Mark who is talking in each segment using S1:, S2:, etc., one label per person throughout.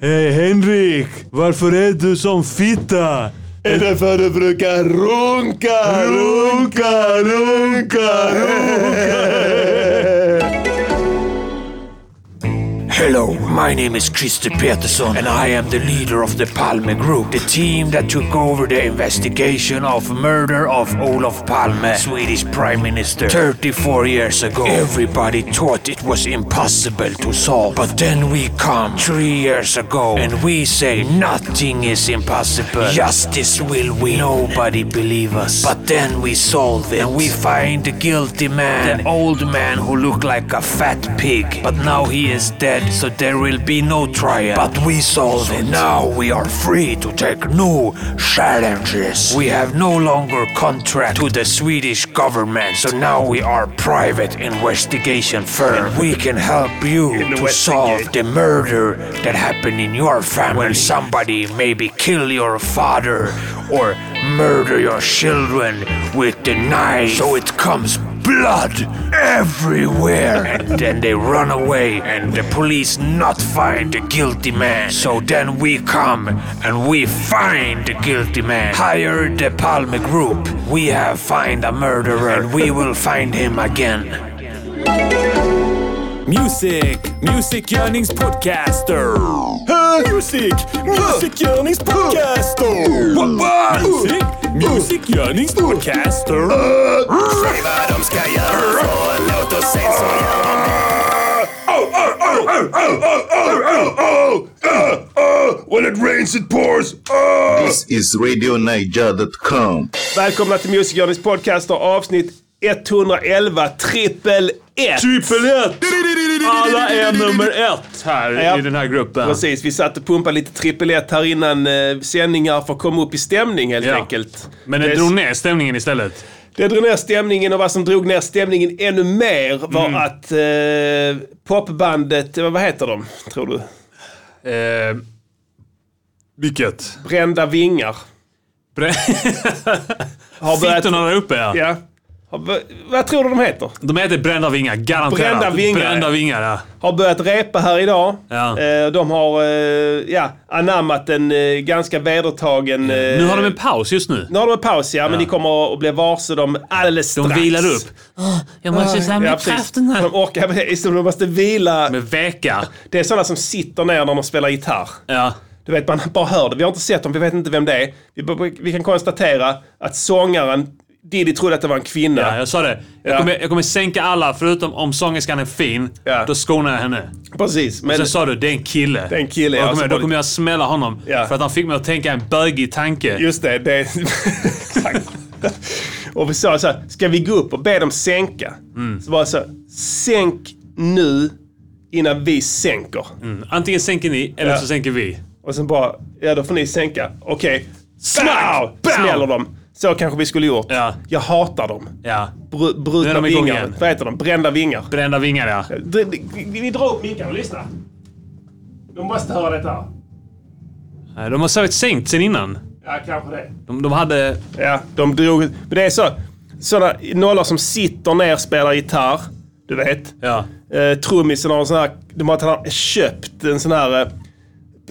S1: Hej Henrik! Varför är du som fitta?
S2: Är det för du brukar runka, runka, runka, runka?
S3: Hello, my name is Christer Peterson and I am the leader of the Palme Group, the team that took over the investigation of murder of Olof Palme, Swedish Prime Minister, 34 years ago. Everybody thought it was impossible to solve, but then we come three years ago and we say nothing is impossible. Justice will win. Nobody believe us, but then we solve it and we find the guilty man, the old man who looked like a fat pig, but now he is dead, so there will be no trial. But we solve it. Now we are free to take new challenges. We have no longer contract to the Swedish government, so now we are private investigation firm. And we can help you to solve the murder that happened in your family. When somebody maybe kill your father or murder your children with the knife. So it comes blood everywhere. and then they run away, and the police not find the guilty man. So then we come and we find the guilty man. Hire the Palme Group. We have find a murderer, and we will find him again.
S4: Music, musikgörningspodcaster. Music, musikgörningspodcaster. Music, musikgörningspodcaster. Säg vad de ska göra så låt oss se så gör de
S2: Oh, oh, When it rains it pours. Ah!
S5: This is RadioNiger.com.
S6: Välkomna till Music Journeys podcast och avsnitt 111 trippel 1.
S1: Trippel Typ ett! Alla är nummer ett här i den här gruppen.
S6: Precis, vi satt och pumpade lite trippel 1 här innan eh, sändningar för att komma upp i stämning helt
S1: Ja.
S6: enkelt.
S1: Men den
S6: det,
S1: drog ner stämningen istället.
S6: det drog ner stämningen och vad som drog ner stämningen ännu mer var
S1: Mm.
S6: att eh, popbandet, eh, vad heter de tror du?
S1: Eh, vilket?
S6: Brända vingar. Har börjat-
S1: Fittorna där uppe ja.
S6: Ja. Har bör- Vad tror du de heter?
S1: De heter Brända vingar, garanterat.
S6: Brända vingar,
S1: Brända
S6: ja.
S1: vingar ja.
S6: har börjat repa här idag.
S1: Ja.
S6: Eh, De har eh, ja, anammat en eh, ganska vedertagen...
S1: Nu har de en paus just nu.
S6: nu har de en paus ja, men ni kommer att bli varse dem alldeles
S1: De
S6: strax. Ah,
S1: vilar upp Ah,
S7: Jag måste samla
S6: Ja, precis.
S7: kraften här.
S6: De orkar, precis, de måste vila.
S1: med veka.
S6: Det är sådana som sitter ner när de spelar gitarr.
S1: Ja.
S6: Du vet, man bara hör det. Vi har inte sett dem, vi vet inte vem det är. Vi, b- vi kan konstatera att sångaren, Diddy trodde att det var en kvinna.
S1: ja, jag sa det. Jag
S6: Ja.
S1: kommer, jag kommer sänka alla förutom om sångerskan är fin.
S6: Ja.
S1: Då skonar jag henne.
S6: Precis, men
S1: Sen sa du, det är en kille.
S6: är en kille,
S1: Då
S6: ja,
S1: kommer,
S6: så
S1: jag,
S6: var
S1: då
S6: det-
S1: kommer jag smälla honom.
S6: Ja.
S1: För att han fick mig att tänka en bögig tanke.
S6: just det, det exakt. Och vi sa så här, ska vi gå upp och be dem sänka?
S1: Mm.
S6: Så bara så, här, sänk nu innan vi sänker.
S1: Antingen sänker ni, eller
S6: Ja.
S1: så sänker vi.
S6: Och sen bara, ja då får ni sänka. Okej, smack! Smäller de. Så kanske vi skulle gjort.
S1: Ja.
S6: Jag hatar dem.
S1: Ja.
S6: Br-
S1: Nu är
S6: brutna
S1: de igång
S6: vingar.
S1: igen.
S6: Vad heter de? Brända vingar.
S1: Brända vingar ja.
S6: Dr- vi- Vi drar upp mickarna, lyssna. De måste höra detta.
S1: Nej, De har säkert sänkt sen innan.
S6: Ja, kanske det.
S1: De, de hade...
S6: Ja, de drog... Men det är så. Sådana nollor som sitter ner, spelar gitarr. Du vet.
S1: Ja.
S6: Eh, trummisen har en sån här... De har tagit- köpt en sån här... eh,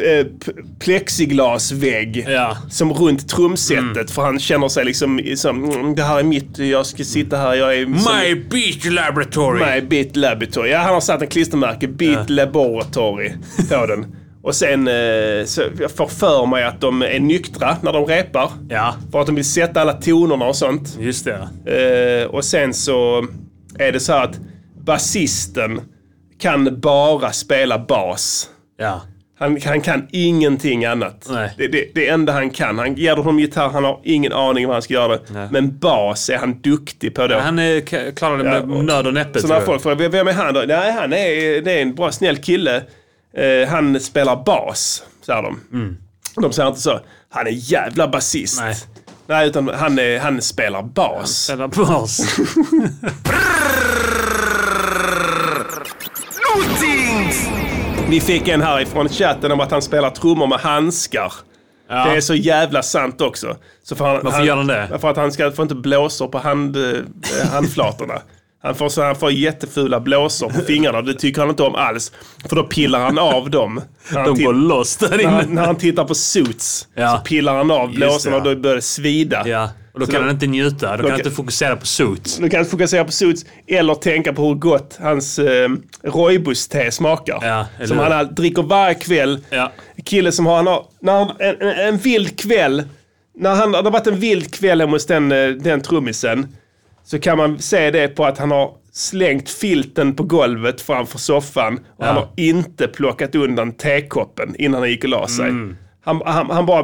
S6: eh, p- Plexiglasvägg
S1: Ja. Mm.
S6: som runt trumsetet för han känner sig liksom som, "Mm, det här är mitt, jag ska sitta här, jag är som-
S1: My Beach Laboratory!
S6: Nej, Beat Laboratory. Ja, han har satt en klistermärke, Beat Laboratory, på den. Och sen eh, så jag får för mig att de är nyktra när de repar.
S1: Ja,
S6: För att de vill sätta alla tonerna och sånt.
S1: just det.
S6: Eh, och sen så är det så här att basisten kan bara spela bas.
S1: Ja.
S6: Han, han kan ingenting annat.
S1: Nej.
S6: Det, det, det enda han kan. Han ger honom gitarr, han har ingen aning om hur han ska göra det.
S1: Nej.
S6: Men bas är han duktig på då.
S1: Han eh, k- klarade det med
S6: Ja, och-
S1: nöd och näppe
S6: Så
S1: tror
S6: när
S1: jag.
S6: folk frågar vem är han då? Nej, han är, det är en bra snäll kille. Eh, han spelar bas, säger de. De säger inte så, han är jävla basist.
S1: Mm. Nej.
S6: Nej, utan han, är, han spelar bas.
S1: Ställa på oss.
S6: Vi fick en här ifrån chatten om att han spelar trummor med handskar.
S1: Ja.
S6: Det är så jävla sant också. Så för han,
S1: Varför gör han det?
S6: För att han ska, får inte blåsor på hand, eh, handflatorna. Han får, så han får jättefula blåsor på fingrarna. Det tycker han inte om alls. För då pillar han av dem. När han
S1: De
S6: titt-
S1: går loss där
S6: när,
S1: inne.
S6: han- när han tittar på Suits
S1: Ja.
S6: så pillar han av blåsorna
S1: ja.
S6: och då börjar det svida.
S1: Ja, och då
S6: Så
S1: kan
S6: då-
S1: han inte njuta. Då kan han
S6: kan-
S1: inte fokusera på suits.
S6: Du kan inte fokusera på Suits eller tänka på hur gott hans eh, roibus-te smakar.
S1: Ja, eller
S6: som
S1: hur?
S6: han all- dricker varje kväll.
S1: Ja.
S6: Kille som har, han har när han, en, en, en vild kväll. När han, det har varit en vild kväll hemma hos den, eh, den trummisen. Så kan man se det på att han har slängt filten på golvet framför soffan. Och han har inte plockat undan tekoppen innan han gick och la sig.
S1: Mm.
S6: Han, han, han bara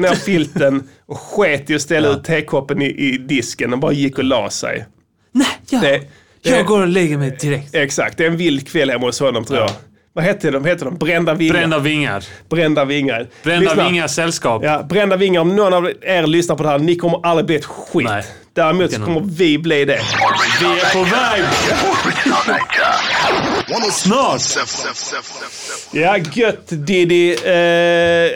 S6: ner filten och sket i att ställa ut tekoppen i, i disken och bara gick och la sig.
S1: Nej, jag,
S6: Det, det,
S1: jag går och lägger mig direkt.
S6: Exakt, det är en vild kväll hemma hos honom tror jag. Vad heter de? Heter de? Brända vingar.
S1: Brända vingar.
S6: Brända vingar.
S1: Brända
S6: Lyssna.
S1: vingar sällskap.
S6: Ja, brända vingar. Om någon av er lyssnar på det här, ni kommer aldrig bli ett skit.
S1: Nej.
S6: Däremot så
S1: Kanon.
S6: kommer vi bli det.
S1: Vi är på väg!
S6: Ja, gött Diddy. Eh,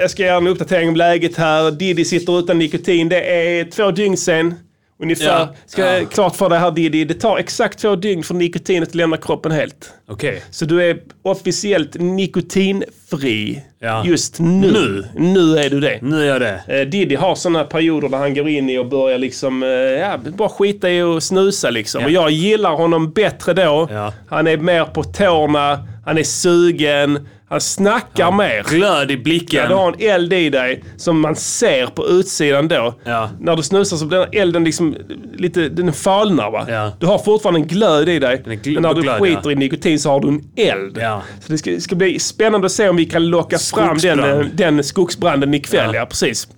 S6: jag ska göra en uppdatering om läget här. Diddy sitter utan nikotin. Det är två dygn sen. Ungefär.
S1: Ja.
S6: Ska
S1: Ja.
S6: klart för dig här Diddy. Det tar exakt två dygn för nikotinet att lämna kroppen helt.
S1: Okej.
S6: Så du är officiellt nikotinfri
S1: Ja.
S6: just nu.
S1: Nu.
S6: nu. är du det.
S1: Nu är jag det.
S6: Eh, Diddy har sådana perioder där han går in i och börjar liksom, eh, ja, bara skita i och snusa liksom.
S1: Ja.
S6: Och jag gillar honom bättre då.
S1: Ja.
S6: Han är mer på tårna, han är sugen, han snackar mer.
S1: Glöd i
S6: Ja, du
S1: blicken.
S6: har en eld i dig som man ser på utsidan då.
S1: Ja.
S6: När du snusar så blir den elden liksom lite, den falnar va?
S1: Ja.
S6: Du har fortfarande en glöd i dig.
S1: är gl-
S6: men när du
S1: glöd,
S6: skiter
S1: ja.
S6: i nikotin så har du en eld.
S1: Ja.
S6: Så det ska, ska bli spännande att se om vi kan locka fram den,
S1: Skogsbrand.
S6: eh, den skogsbranden ikväll.
S1: Ja.
S6: Ja. precis.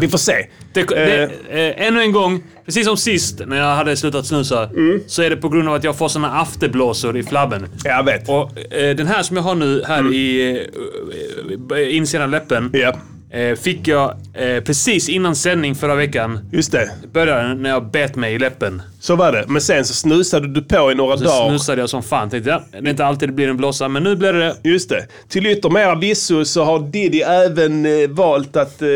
S6: Vi får se.
S1: Det, det, eh, ännu en gång, precis som sist när jag hade slutat snusa, så är det på grund av att jag får såna afterblåsor i flabben.
S6: Jag vet.
S1: Och eh, den här som jag har nu här i eh, eh, insidan av läppen.
S6: Mm. Ja,
S1: Eh, fick jag eh, precis innan sändning förra veckan.
S6: just det.
S1: Började den när jag bet mig i läppen.
S6: Så var det. Men sen så snusade du på i några
S1: Så
S6: dagar.
S1: snusade jag som fan. Tänkte ja, det är inte alltid det blir en blåsa, men nu blir det det.
S6: Just det. Till yttermera visso så har Diddy även eh, valt att, eh,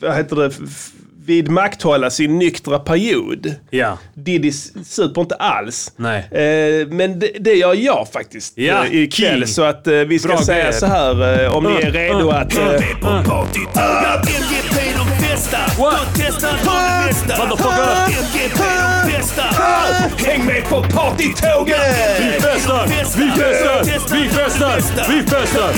S6: vad heter det, f- f- vidmakthålla sin nyktra period.
S1: Ja.
S6: Diddy s- super inte alls.
S1: Nej.
S6: Eh, men det, det gör jag faktiskt
S1: Ja,
S6: eh, ikväll.
S1: king.
S6: Så att eh, vi ska
S1: Bra Mm.
S6: säga
S1: grejer.
S6: så här eh, om ni är redo att... Eh,
S1: Mm. Motherfucker!
S6: Häng med på partytåget!
S1: Vi festar! Vi festar! Vi festar! Vi festar!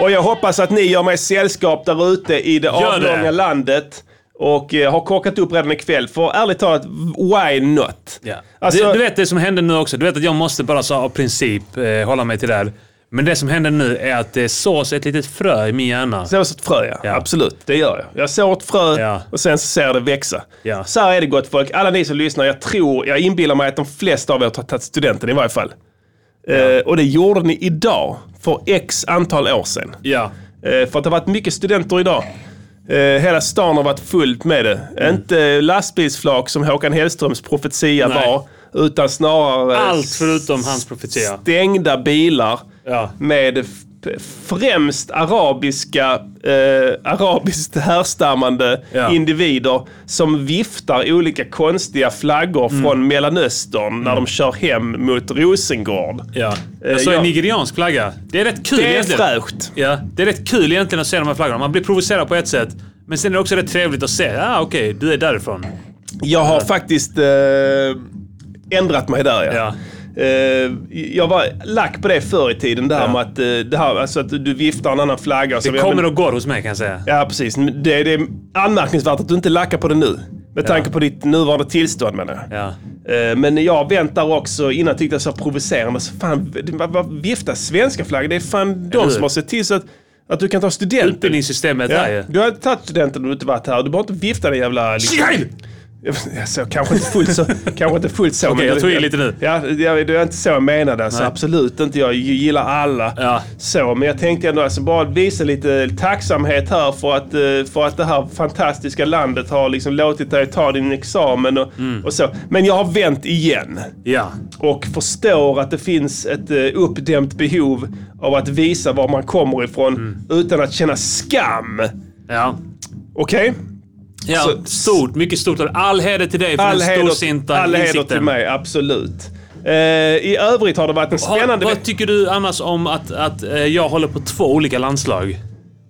S6: Och jag hoppas att ni gör mig sällskap där ute i det
S1: Gör det.
S6: avlånga landet. Och eh, har kokat upp redan ikväll. För ärligt talat, why not?
S1: Ja.
S6: Alltså-
S1: du, du vet det som hände nu också. Du vet att jag måste bara så av princip eh, hålla mig till det här. Men det som händer nu är att det sås ett litet frö i min hjärna.
S6: Sås ett frö, ja.
S1: Ja.
S6: Absolut, det gör jag. Jag sår ett frö
S1: Ja.
S6: och sen så ser jag det växa.
S1: Ja.
S6: Så här är det gott folk. Alla ni som lyssnar, jag tror, jag inbillar mig att de flesta av er har tagit studenten i varje fall. Eh, och det gjorde ni idag, för x antal år sedan.
S1: Ja.
S6: Eh, för att det har varit mycket studenter idag. Eh, hela stan har varit fullt med det.
S1: Mm.
S6: Inte lastbilsflak som Håkan Hellströms profetia
S1: Nej.
S6: var, utan snarare
S1: Allt förutom hans profetia.
S6: stängda bilar
S1: Ja.
S6: med f- främst arabiska, eh, arabiskt härstammande
S1: Ja.
S6: individer som viftar olika konstiga flaggor
S1: Mm.
S6: från Mellanöstern när de kör hem mot Rosengård.
S1: Ja.
S6: Eh,
S1: Jag såg
S6: ja.
S1: en nigeriansk flagga. Det är rätt kul
S6: Det är
S1: egentligen.
S6: fräscht.
S1: Ja, det är rätt kul egentligen att se de här flaggorna. Man blir provocerad på ett sätt. Men sen är det också rätt trevligt att se. Ja, ah, okej, du är därifrån.
S6: Jag har faktiskt eh, ändrat mig där. Ja.
S1: Ja.
S6: Eh, jag var lack på det förr i tiden, det här
S1: Ja.
S6: med att, eh, det här, alltså att du viftar en annan flagga. och så-
S1: Det
S6: ja, men-
S1: kommer och går hos mig kan jag säga.
S6: Ja, precis. Men Det, det är anmärkningsvärt att du inte lackar på det nu. Med tanke på ditt nuvarande tillstånd menar jag.
S1: Ja.
S6: Eh, Men jag väntar också, innan tyckte jag så provocerande, så fan, det- vad- vad- vifta svenska flaggor, det är fan de
S1: hur?
S6: som har sett till så att, att du kan ta studenten.
S1: Utbildningssystemet
S6: Ja,
S1: där ju.
S6: Du har inte tagit studenten om du inte varit här. Du behöver inte vifta den jävla... Liksom, Jag så, kanske inte fullt så. kanske inte fullt så.
S1: Okej,
S6: men-
S1: jag tog i lite nu.
S6: Ja, det det är inte så jag menade. Alltså,
S1: Nej.
S6: absolut inte. Jag gillar alla.
S1: Ja.
S6: Så, men jag tänkte ändå alltså, bara visa lite tacksamhet här för att, eh, för att det här fantastiska landet har liksom låtit dig ta din examen och,
S1: Mm.
S6: och så. Men jag har vänt igen
S1: Ja.
S6: och förstår att det finns ett eh, uppdämt behov av att visa var man kommer ifrån
S1: Mm.
S6: utan att känna skam.
S1: Ja.
S6: Okej?
S1: ja.
S6: Så-
S1: stort. Mycket stort. All heder till dig för
S6: All
S1: den
S6: heder,
S1: storsinta
S6: all heder
S1: insikten.
S6: till mig, absolut. Eh, I övrigt har det varit en
S1: Har-
S6: spännande
S1: vad
S6: vecka.
S1: tycker du annars om att, att eh, jag håller på två olika landslag?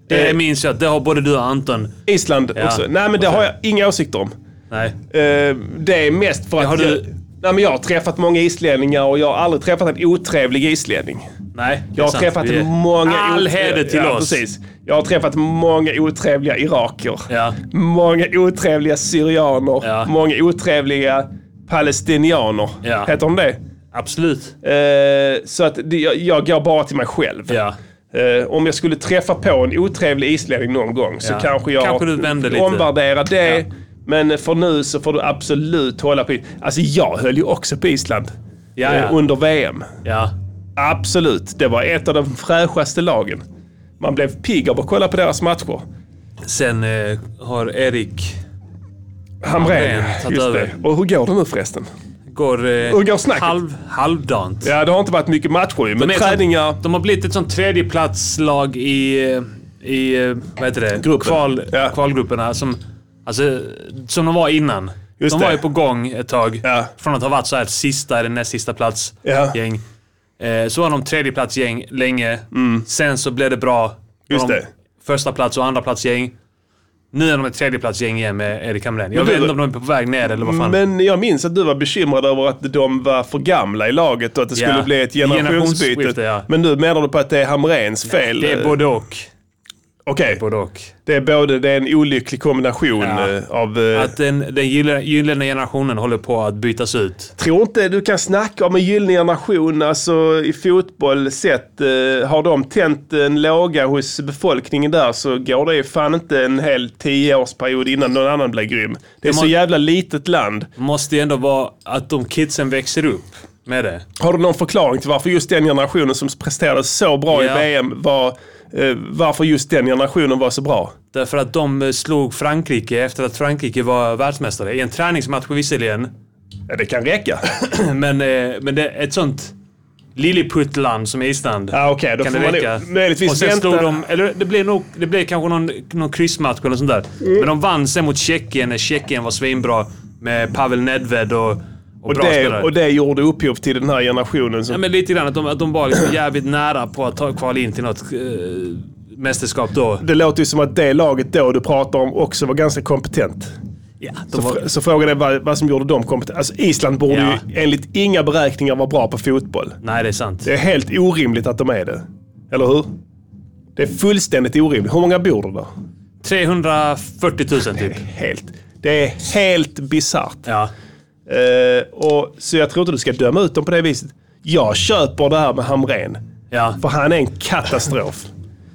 S1: Det
S6: Eh.
S1: minns jag att det har både du och Anton.
S6: Island också. Nej, men det har jag inga åsikter om.
S1: Nej.
S6: Eh, det är mest för att...
S1: har du-
S6: jag, nej, men jag har träffat många islänningar och jag har aldrig träffat en otrevlig islänning.
S1: Nej. det är
S6: Jag har
S1: sant.
S6: träffat
S1: Vi är-
S6: många...
S1: All
S6: otre-
S1: heder till
S6: ja,
S1: oss.
S6: Precis. Jag har träffat många otrevliga iraker.
S1: Ja.
S6: Många otrevliga syrianer.
S1: Ja.
S6: Många otrevliga palestinianer.
S1: Ja.
S6: Heter de det?
S1: Absolut.
S6: Eh, så att det, jag, jag går bara till mig själv.
S1: Ja.
S6: Eh, om jag skulle träffa på en otrevlig islänning någon gång så
S1: Ja.
S6: kanske jag
S1: Kanske du vänder lite.
S6: omvärderar det.
S1: Ja.
S6: Men för nu så får du absolut hålla på. Alltså jag höll ju också på Island
S1: Ja,
S6: eh,
S1: ja.
S6: under VM.
S1: Ja.
S6: Absolut, det var ett av de fräschaste lagen. Man blev pigg av att kolla på deras matcher.
S1: Sen eh, har Erik... Hamrén
S6: Hamrén,
S1: tagit
S6: just det.
S1: över.
S6: Och hur går det nu förresten?
S1: Går, eh,
S6: Hur går snacket?
S1: halv, halvdant.
S6: Ja, det har inte varit mycket matcher ju, men
S1: är ett
S6: träningar.
S1: sånt- de har blivit ett sånt tredjeplatslag i, eh, i eh, vad heter det?
S6: Gruppen.
S1: Kval,
S6: Ja.
S1: Kvalgrupperna. Som, alltså, som de var innan.
S6: Just
S1: de
S6: det.
S1: var ju på gång ett tag.
S6: Ja.
S1: Från att ha varit så här sista eller näst sista plats
S6: Ja.
S1: gäng. Eh, så var de tredjeplatsgäng länge. Sen så blev det bra.
S6: Mm. Just
S1: de
S6: det.
S1: Första plats och andra plats gäng. Nu är de ett tredjeplatsgäng igen med Erik Hamrén. Jag
S6: Men
S1: vet
S6: du-
S1: inte om de är på väg ner eller vad fan.
S6: Men jag minns att du var bekymrad över att de var för gamla i laget och att det
S1: Ja.
S6: skulle bli ett generationsbyte.
S1: Generationsskifte, ja.
S6: Men nu menar du på att det är Hamrens fel?
S1: det är både och.
S6: Okej,
S1: Både och.
S6: det är både, det är en olycklig kombination
S1: Ja.
S6: eh, av... eh,
S1: Att den, den gyllene, gyllene generationen håller på att bytas ut.
S6: tror inte du kan snacka om en gyllene generation, alltså i fotboll sett. Eh, har de tänt en låga hos befolkningen där så går det ju fan inte en hel tioårsperiod innan någon annan blir grym. Det är
S1: må-
S6: så jävla litet land.
S1: Måste ju ändå vara att de kidsen växer upp med det.
S6: Har du någon förklaring till varför just den generationen som presterade så bra
S1: Ja.
S6: i VM var... Eh, varför just den generationen var så bra?
S1: Därför att de eh, slog Frankrike efter att Frankrike var världsmästare. I en träningsmatch visserligen.
S6: Ja, det kan räcka.
S1: Men, eh, men det är ett sånt lilleputtland som Island.
S6: Ja, okej, då
S1: kan
S6: får
S1: det
S6: man
S1: räcka.
S6: nog möjligtvis
S1: Och sen
S6: vänta.
S1: slog de, eller det blev, nog, det blev kanske någon, någon kryssmatch eller sånt där.
S6: Mm.
S1: Men de vann sen mot Tjeckien när Tjeckien var svinbra. Med Pavel Nedved och, och,
S6: och,
S1: bra
S6: det,
S1: spelare.
S6: och det gjorde upphov till den här generationen. Som,
S1: Ja, men lite grann. Att de, att de var liksom jävligt nära på att ta kvala in till något eh, mästerskap då.
S6: Det låter ju som att det laget då du pratar om också var ganska kompetent.
S1: Ja,
S6: Så,
S1: de var,
S6: fr- så frågan är vad, vad som gjorde dem kompetenta. Alltså Island borde
S1: Ja.
S6: ju enligt inga beräkningar vara bra på fotboll.
S1: nej, det är sant.
S6: Det är helt orimligt att de är det. Eller hur? Det är fullständigt orimligt. Hur många bor det där?
S1: 340 000 typ.
S6: Helt. Det är helt bisarrt.
S1: Ja.
S6: Eh, och, så jag tror inte du ska döma ut dem på det viset. Jag köper det här med Hamrén.
S1: Ja.
S6: För han är en katastrof.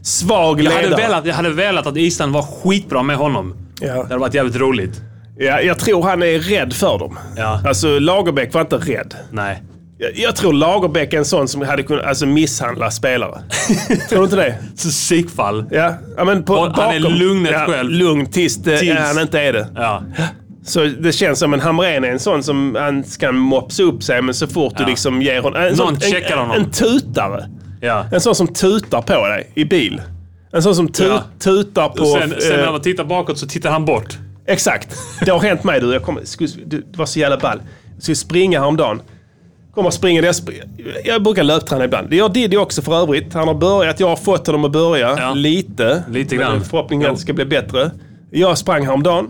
S6: Svag
S1: Jag,
S6: ledare.
S1: hade velat, jag hade velat att Island var skitbra med honom.
S6: Ja.
S1: Det hade varit jävligt roligt.
S6: Ja, jag tror han är rädd för dem.
S1: Ja.
S6: Alltså Lagerbäck var inte rädd.
S1: Nej.
S6: Jag, jag tror Lagerbäck är en sån som hade kunnat alltså, misshandla spelare. tror du inte det?
S1: Så psykfall.
S6: Ja, ja men på,
S1: Och han är
S6: bakom-
S1: lugnet
S6: ja,
S1: själv.
S6: Lugn tills, det,
S1: Tills-
S6: Ja, han inte är det.
S1: Ja.
S6: Så det känns som en Hamrén är en sån som han ska mopsa upp sig men så fort
S1: Ja.
S6: du liksom ger honom... En, sån-
S1: checkar
S6: en,
S1: honom.
S6: en tutare.
S1: ja.
S6: En sån som tutar på dig i bil. En sån som tu,
S1: Ja.
S6: tutar på...
S1: Sen, sen
S6: eh,
S1: när man tittar bakåt så tittar han bort.
S6: Exakt. Det har hänt mig du. Jag kom, skulle, du det var så jävla ball. Jag skulle springa häromdagen. Kommer springa. Jag, spr- jag brukar löpträna ibland. Det gör Diddy också för övrigt. Han har börjat. Jag har fått honom att börja.
S1: Ja.
S6: Lite.
S1: Lite grann.
S6: Men Förhoppningen
S1: Jo.
S6: att det ska bli bättre. Jag sprang häromdagen.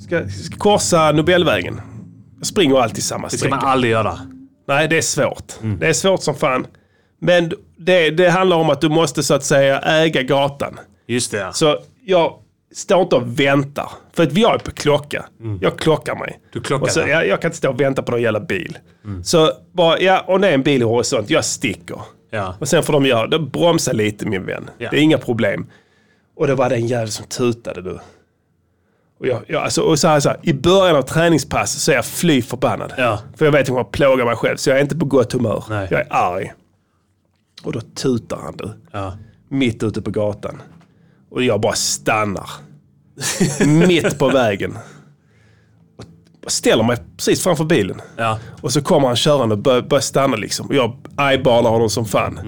S6: Ska, ska korsa Nobelvägen. Jag springer alltid samma
S1: Det Mm. ska
S6: sträcka.
S1: man aldrig göra.
S6: Nej, det är svårt. Det är svårt som fan. Men det, det handlar om att du måste så att säga äga gatan.
S1: Just det, ja.
S6: Så jag står inte och väntar. För att jag är på klocka. Jag klockar mig.
S1: Mm. Du klockar
S6: och så,
S1: dig. Mm.
S6: jag, jag kan inte stå och vänta på någon jävla bil. Så bara, ja, och det är en bil i horisont. Jag sticker.
S1: Ja.
S6: Och sen får de göra, de bromsar lite min vän.
S1: Ja.
S6: Det är inga problem. Och det var den jävel som tutade du. Och, jag, jag, alltså, och så här, så här, I början av träningspass så är jag fly förbannad.
S1: Ja.
S6: För jag vet att jag kommer att plåga mig själv, så jag är inte på gott humör.
S1: Nej.
S6: Jag är arg. Och då tutar han du.
S1: Ja.
S6: Mitt ute på gatan. Och jag bara stannar. mitt på vägen. Och ställer mig precis framför bilen.
S1: Ja.
S6: Och så kommer han körande och bör- börjar stanna liksom. Och jag eyeballar honom som fan.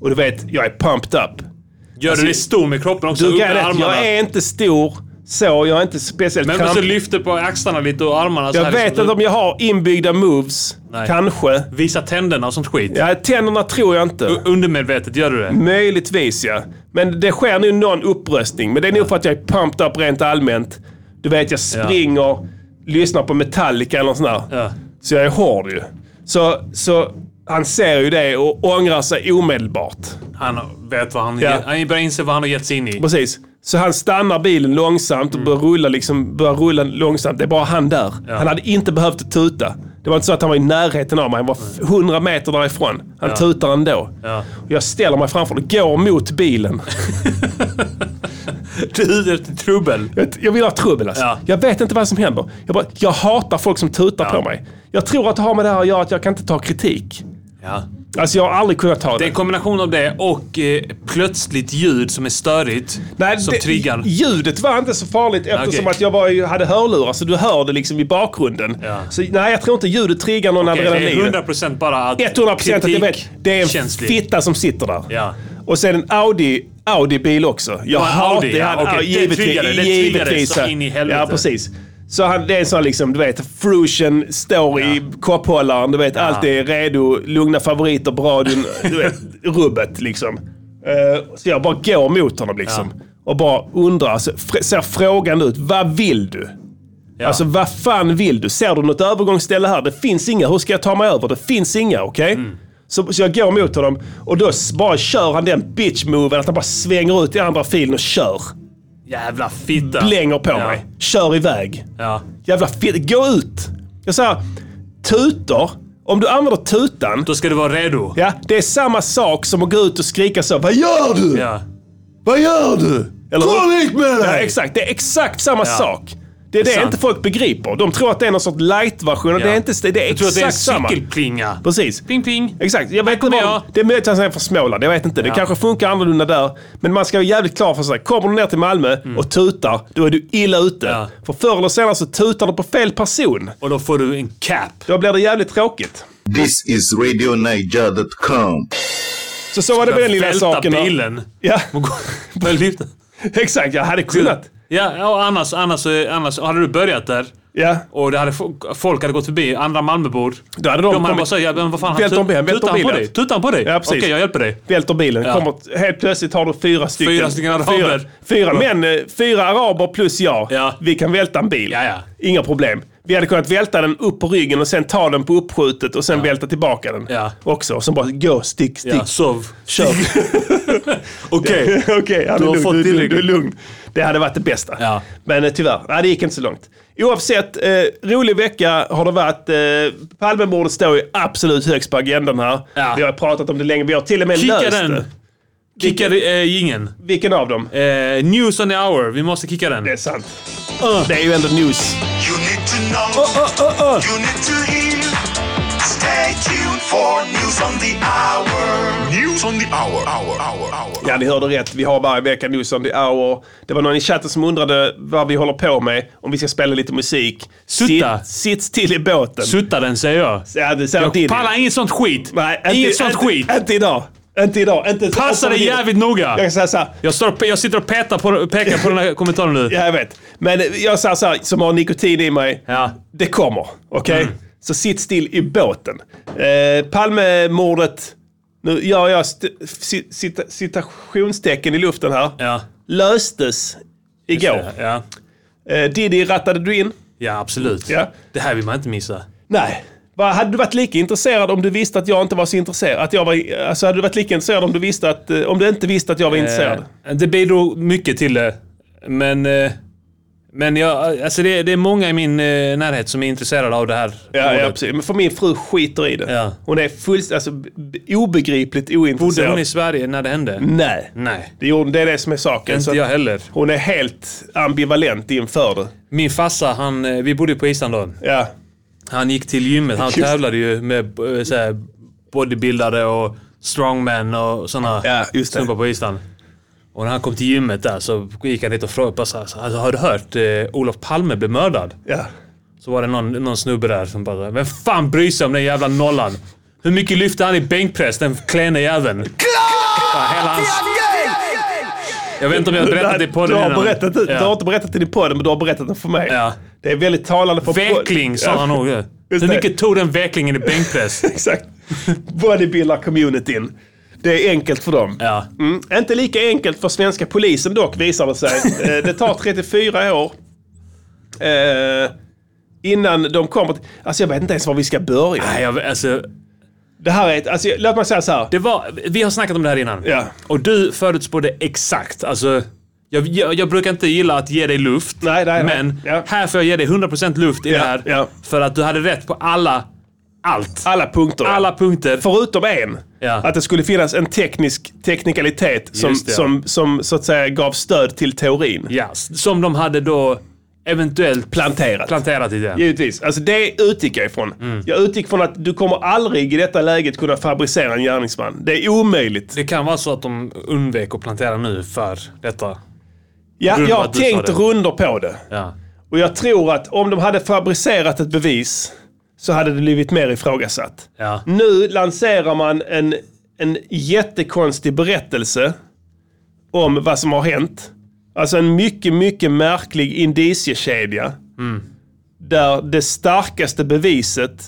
S6: Och du vet, jag är pumped up.
S1: Gör du dig stor med kroppen också?
S6: Alltså, Du
S1: Upp
S6: kan
S1: med
S6: rätt,
S1: armarna.
S6: jag är inte stor så, jag är inte speciellt
S1: Men du måste lyfta på axlarna lite och armarna. så
S6: Jag
S1: här
S6: vet
S1: liksom.
S6: att om jag har inbyggda moves,
S1: Nej.
S6: kanske.
S1: Visa tänderna och sånt skit.
S6: Ja, tänderna tror jag inte.
S1: U- Undermedvetet gör du det.
S6: Möjligtvis ja. Men det sker nu någon uppröstning. Men det är nog för att jag är pumped up rent allmänt. Du vet, jag springer, lyssnar på Metallica eller något sånt där.
S1: Ja.
S6: Så jag är hård ju. Så, så han ser ju det och ångrar sig omedelbart.
S1: Han vet vad han...
S6: Ja.
S1: Han börjar inse vad han har gett sig in i.
S6: Precis. Så han stannar bilen långsamt och
S1: Mm.
S6: börjar, rulla liksom, börjar rulla långsamt. Det är bara han där. Han hade inte behövt tuta. Det var inte så att han var i närheten av mig. Han var f- 100 meter därifrån. Han tutar ändå.
S1: Mm. Ja.
S6: Och jag ställer mig framför och går mot bilen.
S1: Du är ute efter trubbel.
S6: Jag, jag vill ha trubbel alltså.
S1: Ja.
S6: Jag vet inte vad som händer. Jag, bara, jag hatar folk som tutar på mig. Jag tror att det har med det här att göra att jag kan inte ta kritik.
S1: Ja.
S6: Alltså jag har aldrig kunnat ta det.
S1: Det är en kombination av det och eh, plötsligt ljud som är störigt. som
S6: det-
S1: triggar.
S6: Ljudet var inte så farligt eftersom
S1: Okej.
S6: att jag bara hade hörlurar så du hörde liksom i bakgrunden.
S1: Ja.
S6: Så nej, jag tror inte ljudet triggar någon
S1: Okej, det
S6: adrenalin.
S1: är 100% bara att
S6: 100 procent att jag vet. Det är en
S1: känslig.
S6: fitta som sitter där.
S1: Ja.
S6: Och sen en Audi, Audi-bil också. Jag
S1: Ja, en
S6: hatar
S1: Audi, ja,
S6: han-
S1: okej. Det
S6: givetvis-
S1: triggar det, det
S6: givetvis-
S1: triggar det så in i helvete.
S6: Ja, precis. Så han, det är en sån liksom, du vet, frusion står i kopphållaren, du vet, allt är redo, lugna favoriter på radion, du vet, rubbet liksom. Eh, Så jag bara går mot honom liksom. Och bara undrar, så fr- ser frågan ut, vad vill du?
S1: Ja.
S6: Alltså vad fan vill du? Ser du något övergångsställe här? Det finns inga. Hur ska jag ta mig över? Det finns inga, okej?
S1: Mm.
S6: Så, så jag går mot honom och då s- bara kör han den bitch-moven att han bara svänger ut i andra filen och kör.
S1: Jävla fitta.
S6: Blänger på
S1: ja.
S6: mig. Kör iväg.
S1: Ja.
S6: Jävla fit. Gå ut! Jag säger, tutor. Om du använder tutan,
S1: Då ska du vara redo.
S6: ja, det är samma sak som att gå ut och skrika så. Vad gör du?
S1: Ja.
S2: Vad gör du?
S6: Eller hur?
S2: Kom hit med
S6: Ja,
S2: dig!
S6: exakt. Det är exakt samma
S1: Ja.
S6: sak. Det är det,
S1: sant.
S6: inte folk begriper. De tror att det är någon sorts light-version. och
S1: Ja.
S6: Det är, inte, det är
S1: Jag tror att
S6: exakt
S1: det är en
S6: samma.
S1: cykelplinga.
S6: Precis.
S1: Pling, pling.
S6: Exakt. Jag vet
S1: kommer
S6: inte vad,
S1: jag.
S6: det är möjligt att han är från Småland. Jag vet inte. Det kanske funkar annorlunda där. Men man ska vara jävligt klar för sig. Kommer du ner till Malmö och tutar, då är du illa ute.
S1: Mm. Ja.
S6: För förr eller senare så tutar du på fel person.
S1: Och då får du en cap.
S6: Då blir det jävligt tråkigt.
S5: This is RadioNiger.com.
S6: Så så var det med den lilla
S1: Välta
S6: saken. då.
S1: bilen.
S6: Ja,
S1: Och gå- Börja lyfta.
S6: exakt. Jag hade kunnat.
S1: Ja, ja och annars, annars, annars hade du börjat där.
S6: Ja,
S1: Och det hade, folk hade gått förbi, andra Malmöbor.
S6: Då hade de
S1: de hade
S6: kommit-
S1: bara sagt, ja, men vad fan,
S6: Vält om bilen, vält om
S1: tutar han på
S6: bilen.
S1: dig? Tutar han på dig?
S6: Ja, precis.
S1: Okej, jag hjälper dig.
S6: välter bilen.
S1: Ja.
S6: Kommer, helt plötsligt har du fyra stycken.
S1: Fyra stycken
S6: fyra,
S1: araber.
S6: fyra män, eh, fyra araber plus jag.
S1: Ja.
S6: Vi kan välta en bil.
S1: Ja, ja.
S6: Inga problem. Vi hade kunnat välta den upp på ryggen och sen ta den på uppskjutet och sen välta tillbaka den
S1: Ja.
S6: också. Och sen bara gå, stick, stick.
S1: Ja, sov.
S6: Kör.
S1: Okej.
S6: Okej, ja, du,
S1: har
S6: är lugn,
S1: fått
S6: du, är lugn,
S1: tillräckligt.
S6: du är lugn. Det hade varit det bästa.
S1: Ja.
S6: Men eh, tyvärr, nej, det gick inte så långt. Oavsett, eh, rolig vecka har det varit. Eh, Palmemordet står ju absolut högst på agendan här.
S1: Ja.
S6: Vi har pratat om det länge. Vi har till och med
S1: Kicka
S6: löst
S1: den.
S6: det.
S1: Kicka eh, ingen.
S6: Vilken av dem?
S1: Eh, news on the hour. Vi måste kicka den.
S6: Det är sant.
S1: Ah.
S6: Det är ju ändå news.
S4: You need to know. You need to hear. Stay tuned for news on the hour. News on the hour. Hour. Hour. Hour.
S6: Ja, ni hörde rätt. Vi har varje vecka news on the hour. Det var någon i chatten som undrade vad vi håller på med. Om vi ska spela lite musik.
S1: Sutta.
S6: Sitt, sitt still i båten.
S1: Sutta den, säger jag.
S6: Ja, det säger Diddy.
S1: Jag pallar inget sånt skit.
S6: Nej, inte,
S1: inget sånt
S6: inte,
S1: skit.
S6: Inte idag. Inte idag. Inte,
S1: Passa
S6: inte-
S1: dig jävligt noga.
S6: Jag kan säga så här.
S1: Jag, står och, pe- jag sitter och petar på, pekar på den här kommentaren nu.
S6: Ja, jag vet. Men jag säger så här, som har nikotin i mig.
S1: Ja.
S6: Det kommer. Okej?
S1: Mm.
S6: Så sitt still i båten. Eh, Palmemordet. Nu gör jag st- ci- cita- citationstecken i luften här.
S1: Ja.
S6: Löstes igår.
S1: Ja.
S6: Eh, Diddy rattade du in.
S1: ja, absolut.
S6: Ja.
S1: Det här vill man inte missa.
S6: Nej. Va, hade du varit lika intresserad om du visste att jag inte var så intresserad? Att jag var, alltså hade du varit lika intresserad om du, visste att, eh, om du inte visste att jag var intresserad?
S1: Eh, det bidrog mycket till det. Men eh, Men jag, alltså det, det är många i min eh, närhet som är intresserade av det här.
S6: Ja, ja,
S1: ordet.
S6: precis. Men för min fru skiter i det.
S1: Ja.
S6: Hon är fullständigt, alltså b- obegripligt
S1: Bodde
S6: ointresserad.
S1: hon i Sverige när det hände?
S6: Nej.
S1: Nej.
S6: Det, gjorde- Mm. det är det som är saken.
S1: Inte
S6: så att
S1: jag heller.
S6: Hon är helt ambivalent inför det.
S1: Min farsa, han, eh, vi bodde på Island då.
S6: Ja.
S1: Han gick till gymmet. Han
S6: Just-
S1: tävlade ju med eh, så här, bodybuildare och strongman och sådana
S6: Ja, just det.
S1: snubbar på Island. Och när han kom till gymmet där så gick han dit och frågade. bara så här, så här, Alltså, har du hört eh, Olof Palme blev mördad?
S6: ja.
S1: Så var det någon, någon snubbe där som bara Vem fan bryr sig om den jävla nollan? Hur mycket lyfte han i bänkpress, den klene jäveln? Bara Hela hans... Jag vet inte om jag har berättat det på
S6: du,
S1: podden
S6: har
S1: innan.
S6: berättat, det- du har
S1: ja.
S6: inte berättat det i podden, men du har berättat det för mig.
S1: Ja.
S6: Det är väldigt talande för...
S1: Veckling sa han nog. Hur
S6: det.
S1: mycket tog den vecklingen i bänkpress?
S6: Exakt. Bodybuilder-communityn. Det är enkelt för dem.
S1: Ja.
S6: Mm. Inte lika enkelt för svenska polisen dock visar det sig. Eh, det tar 34 år. Eh, innan de kommer till... Alltså jag vet inte ens var vi ska börja.
S1: Nej, jag, alltså,
S6: Det här är ett... Alltså, låt mig säga så här.
S1: det var, vi har snackat om det här innan.
S6: Ja.
S1: Och du förutspådde exakt. Alltså, jag, jag, jag brukar inte gilla att ge dig luft.
S6: Nej, nej, nej.
S1: men
S6: Ja.
S1: här får jag ge dig 100% luft i
S6: Ja,
S1: det här.
S6: ja.
S1: För att du hade rätt på alla... Allt.
S6: Alla punkter.
S1: Alla punkter.
S6: Förutom en.
S1: Ja.
S6: Att det skulle finnas en teknisk teknikalitet som,
S1: Just det, ja.
S6: som, som så att säga gav stöd till teorin.
S1: Ja, s- som de hade då eventuellt
S6: Planterat.
S1: planterat i det.
S6: Givetvis. Alltså det utgick jag ifrån.
S1: Mm.
S6: Jag utgick från att du kommer aldrig i detta läget kunna fabricera en gärningsman. Det är omöjligt.
S1: Det kan vara så att de undvek att plantera nu för detta.
S6: Ja,
S1: Grundat
S6: jag har
S1: att du sa
S6: tänkt
S1: det.
S6: runder på det.
S1: Ja.
S6: Och jag tror att om de hade fabricerat ett bevis så hade det blivit mer ifrågasatt.
S1: Ja.
S6: Nu lanserar man en, en jättekonstig berättelse om vad som har hänt. Alltså en mycket, mycket märklig indiciekedja.
S1: Mm.
S6: Där det starkaste beviset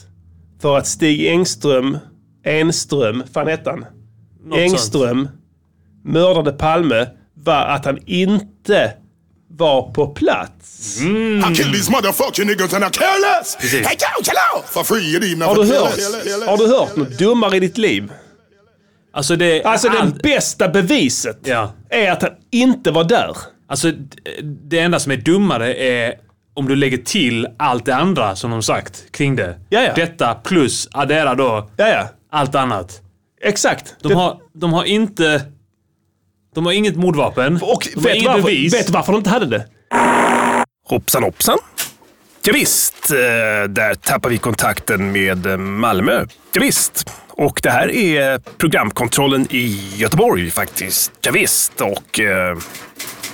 S6: för att Stig Engström, Enström, fan hette han?
S1: Något sånt.
S6: Engström mördade Palme var att han inte var på plats.
S4: I kill these motherfucking niggas and I care less. Hey yo, chill out. For free it even.
S6: Har du hört, har du hört något dummare i ditt liv?
S1: Alltså det...
S6: Alltså det
S1: allt-
S6: bästa beviset
S1: Ja.
S6: är att han inte var där.
S1: Alltså, d- det enda som är dummare är om du lägger till allt det andra som de sagt kring det.
S6: Jaja.
S1: Detta plus addera då
S6: Ja, ja.
S1: allt annat.
S6: Exakt.
S1: De,
S6: Det-
S1: har, de har inte... De har inget mordvapen.
S6: och
S1: de har
S6: vet, du
S1: inget
S6: varför,
S1: bevis.
S6: vet du varför de inte hade det?
S7: Hoppsan hoppsan. Ja, visst, eh, där tappar vi kontakten med eh, Malmö. Ja, visst. Och det här är programkontrollen i Göteborg faktiskt. Ja, visst. och eh,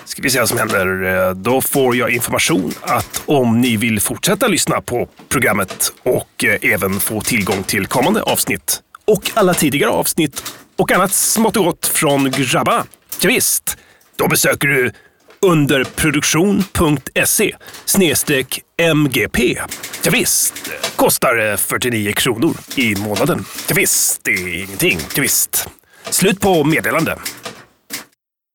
S7: ska vi se vad som händer. Eh, Då får jag information att om ni vill fortsätta lyssna på programmet och eh, även få tillgång till kommande avsnitt och alla tidigare avsnitt och annat smått och gott från Grabba. Ja, visst. då besöker du underproduktion.se snedstreck MGP. Ja, visst. kostar eh, 49 kronor i månaden. Ja, visst. det är ingenting. Ja, visst. Slut på meddelande.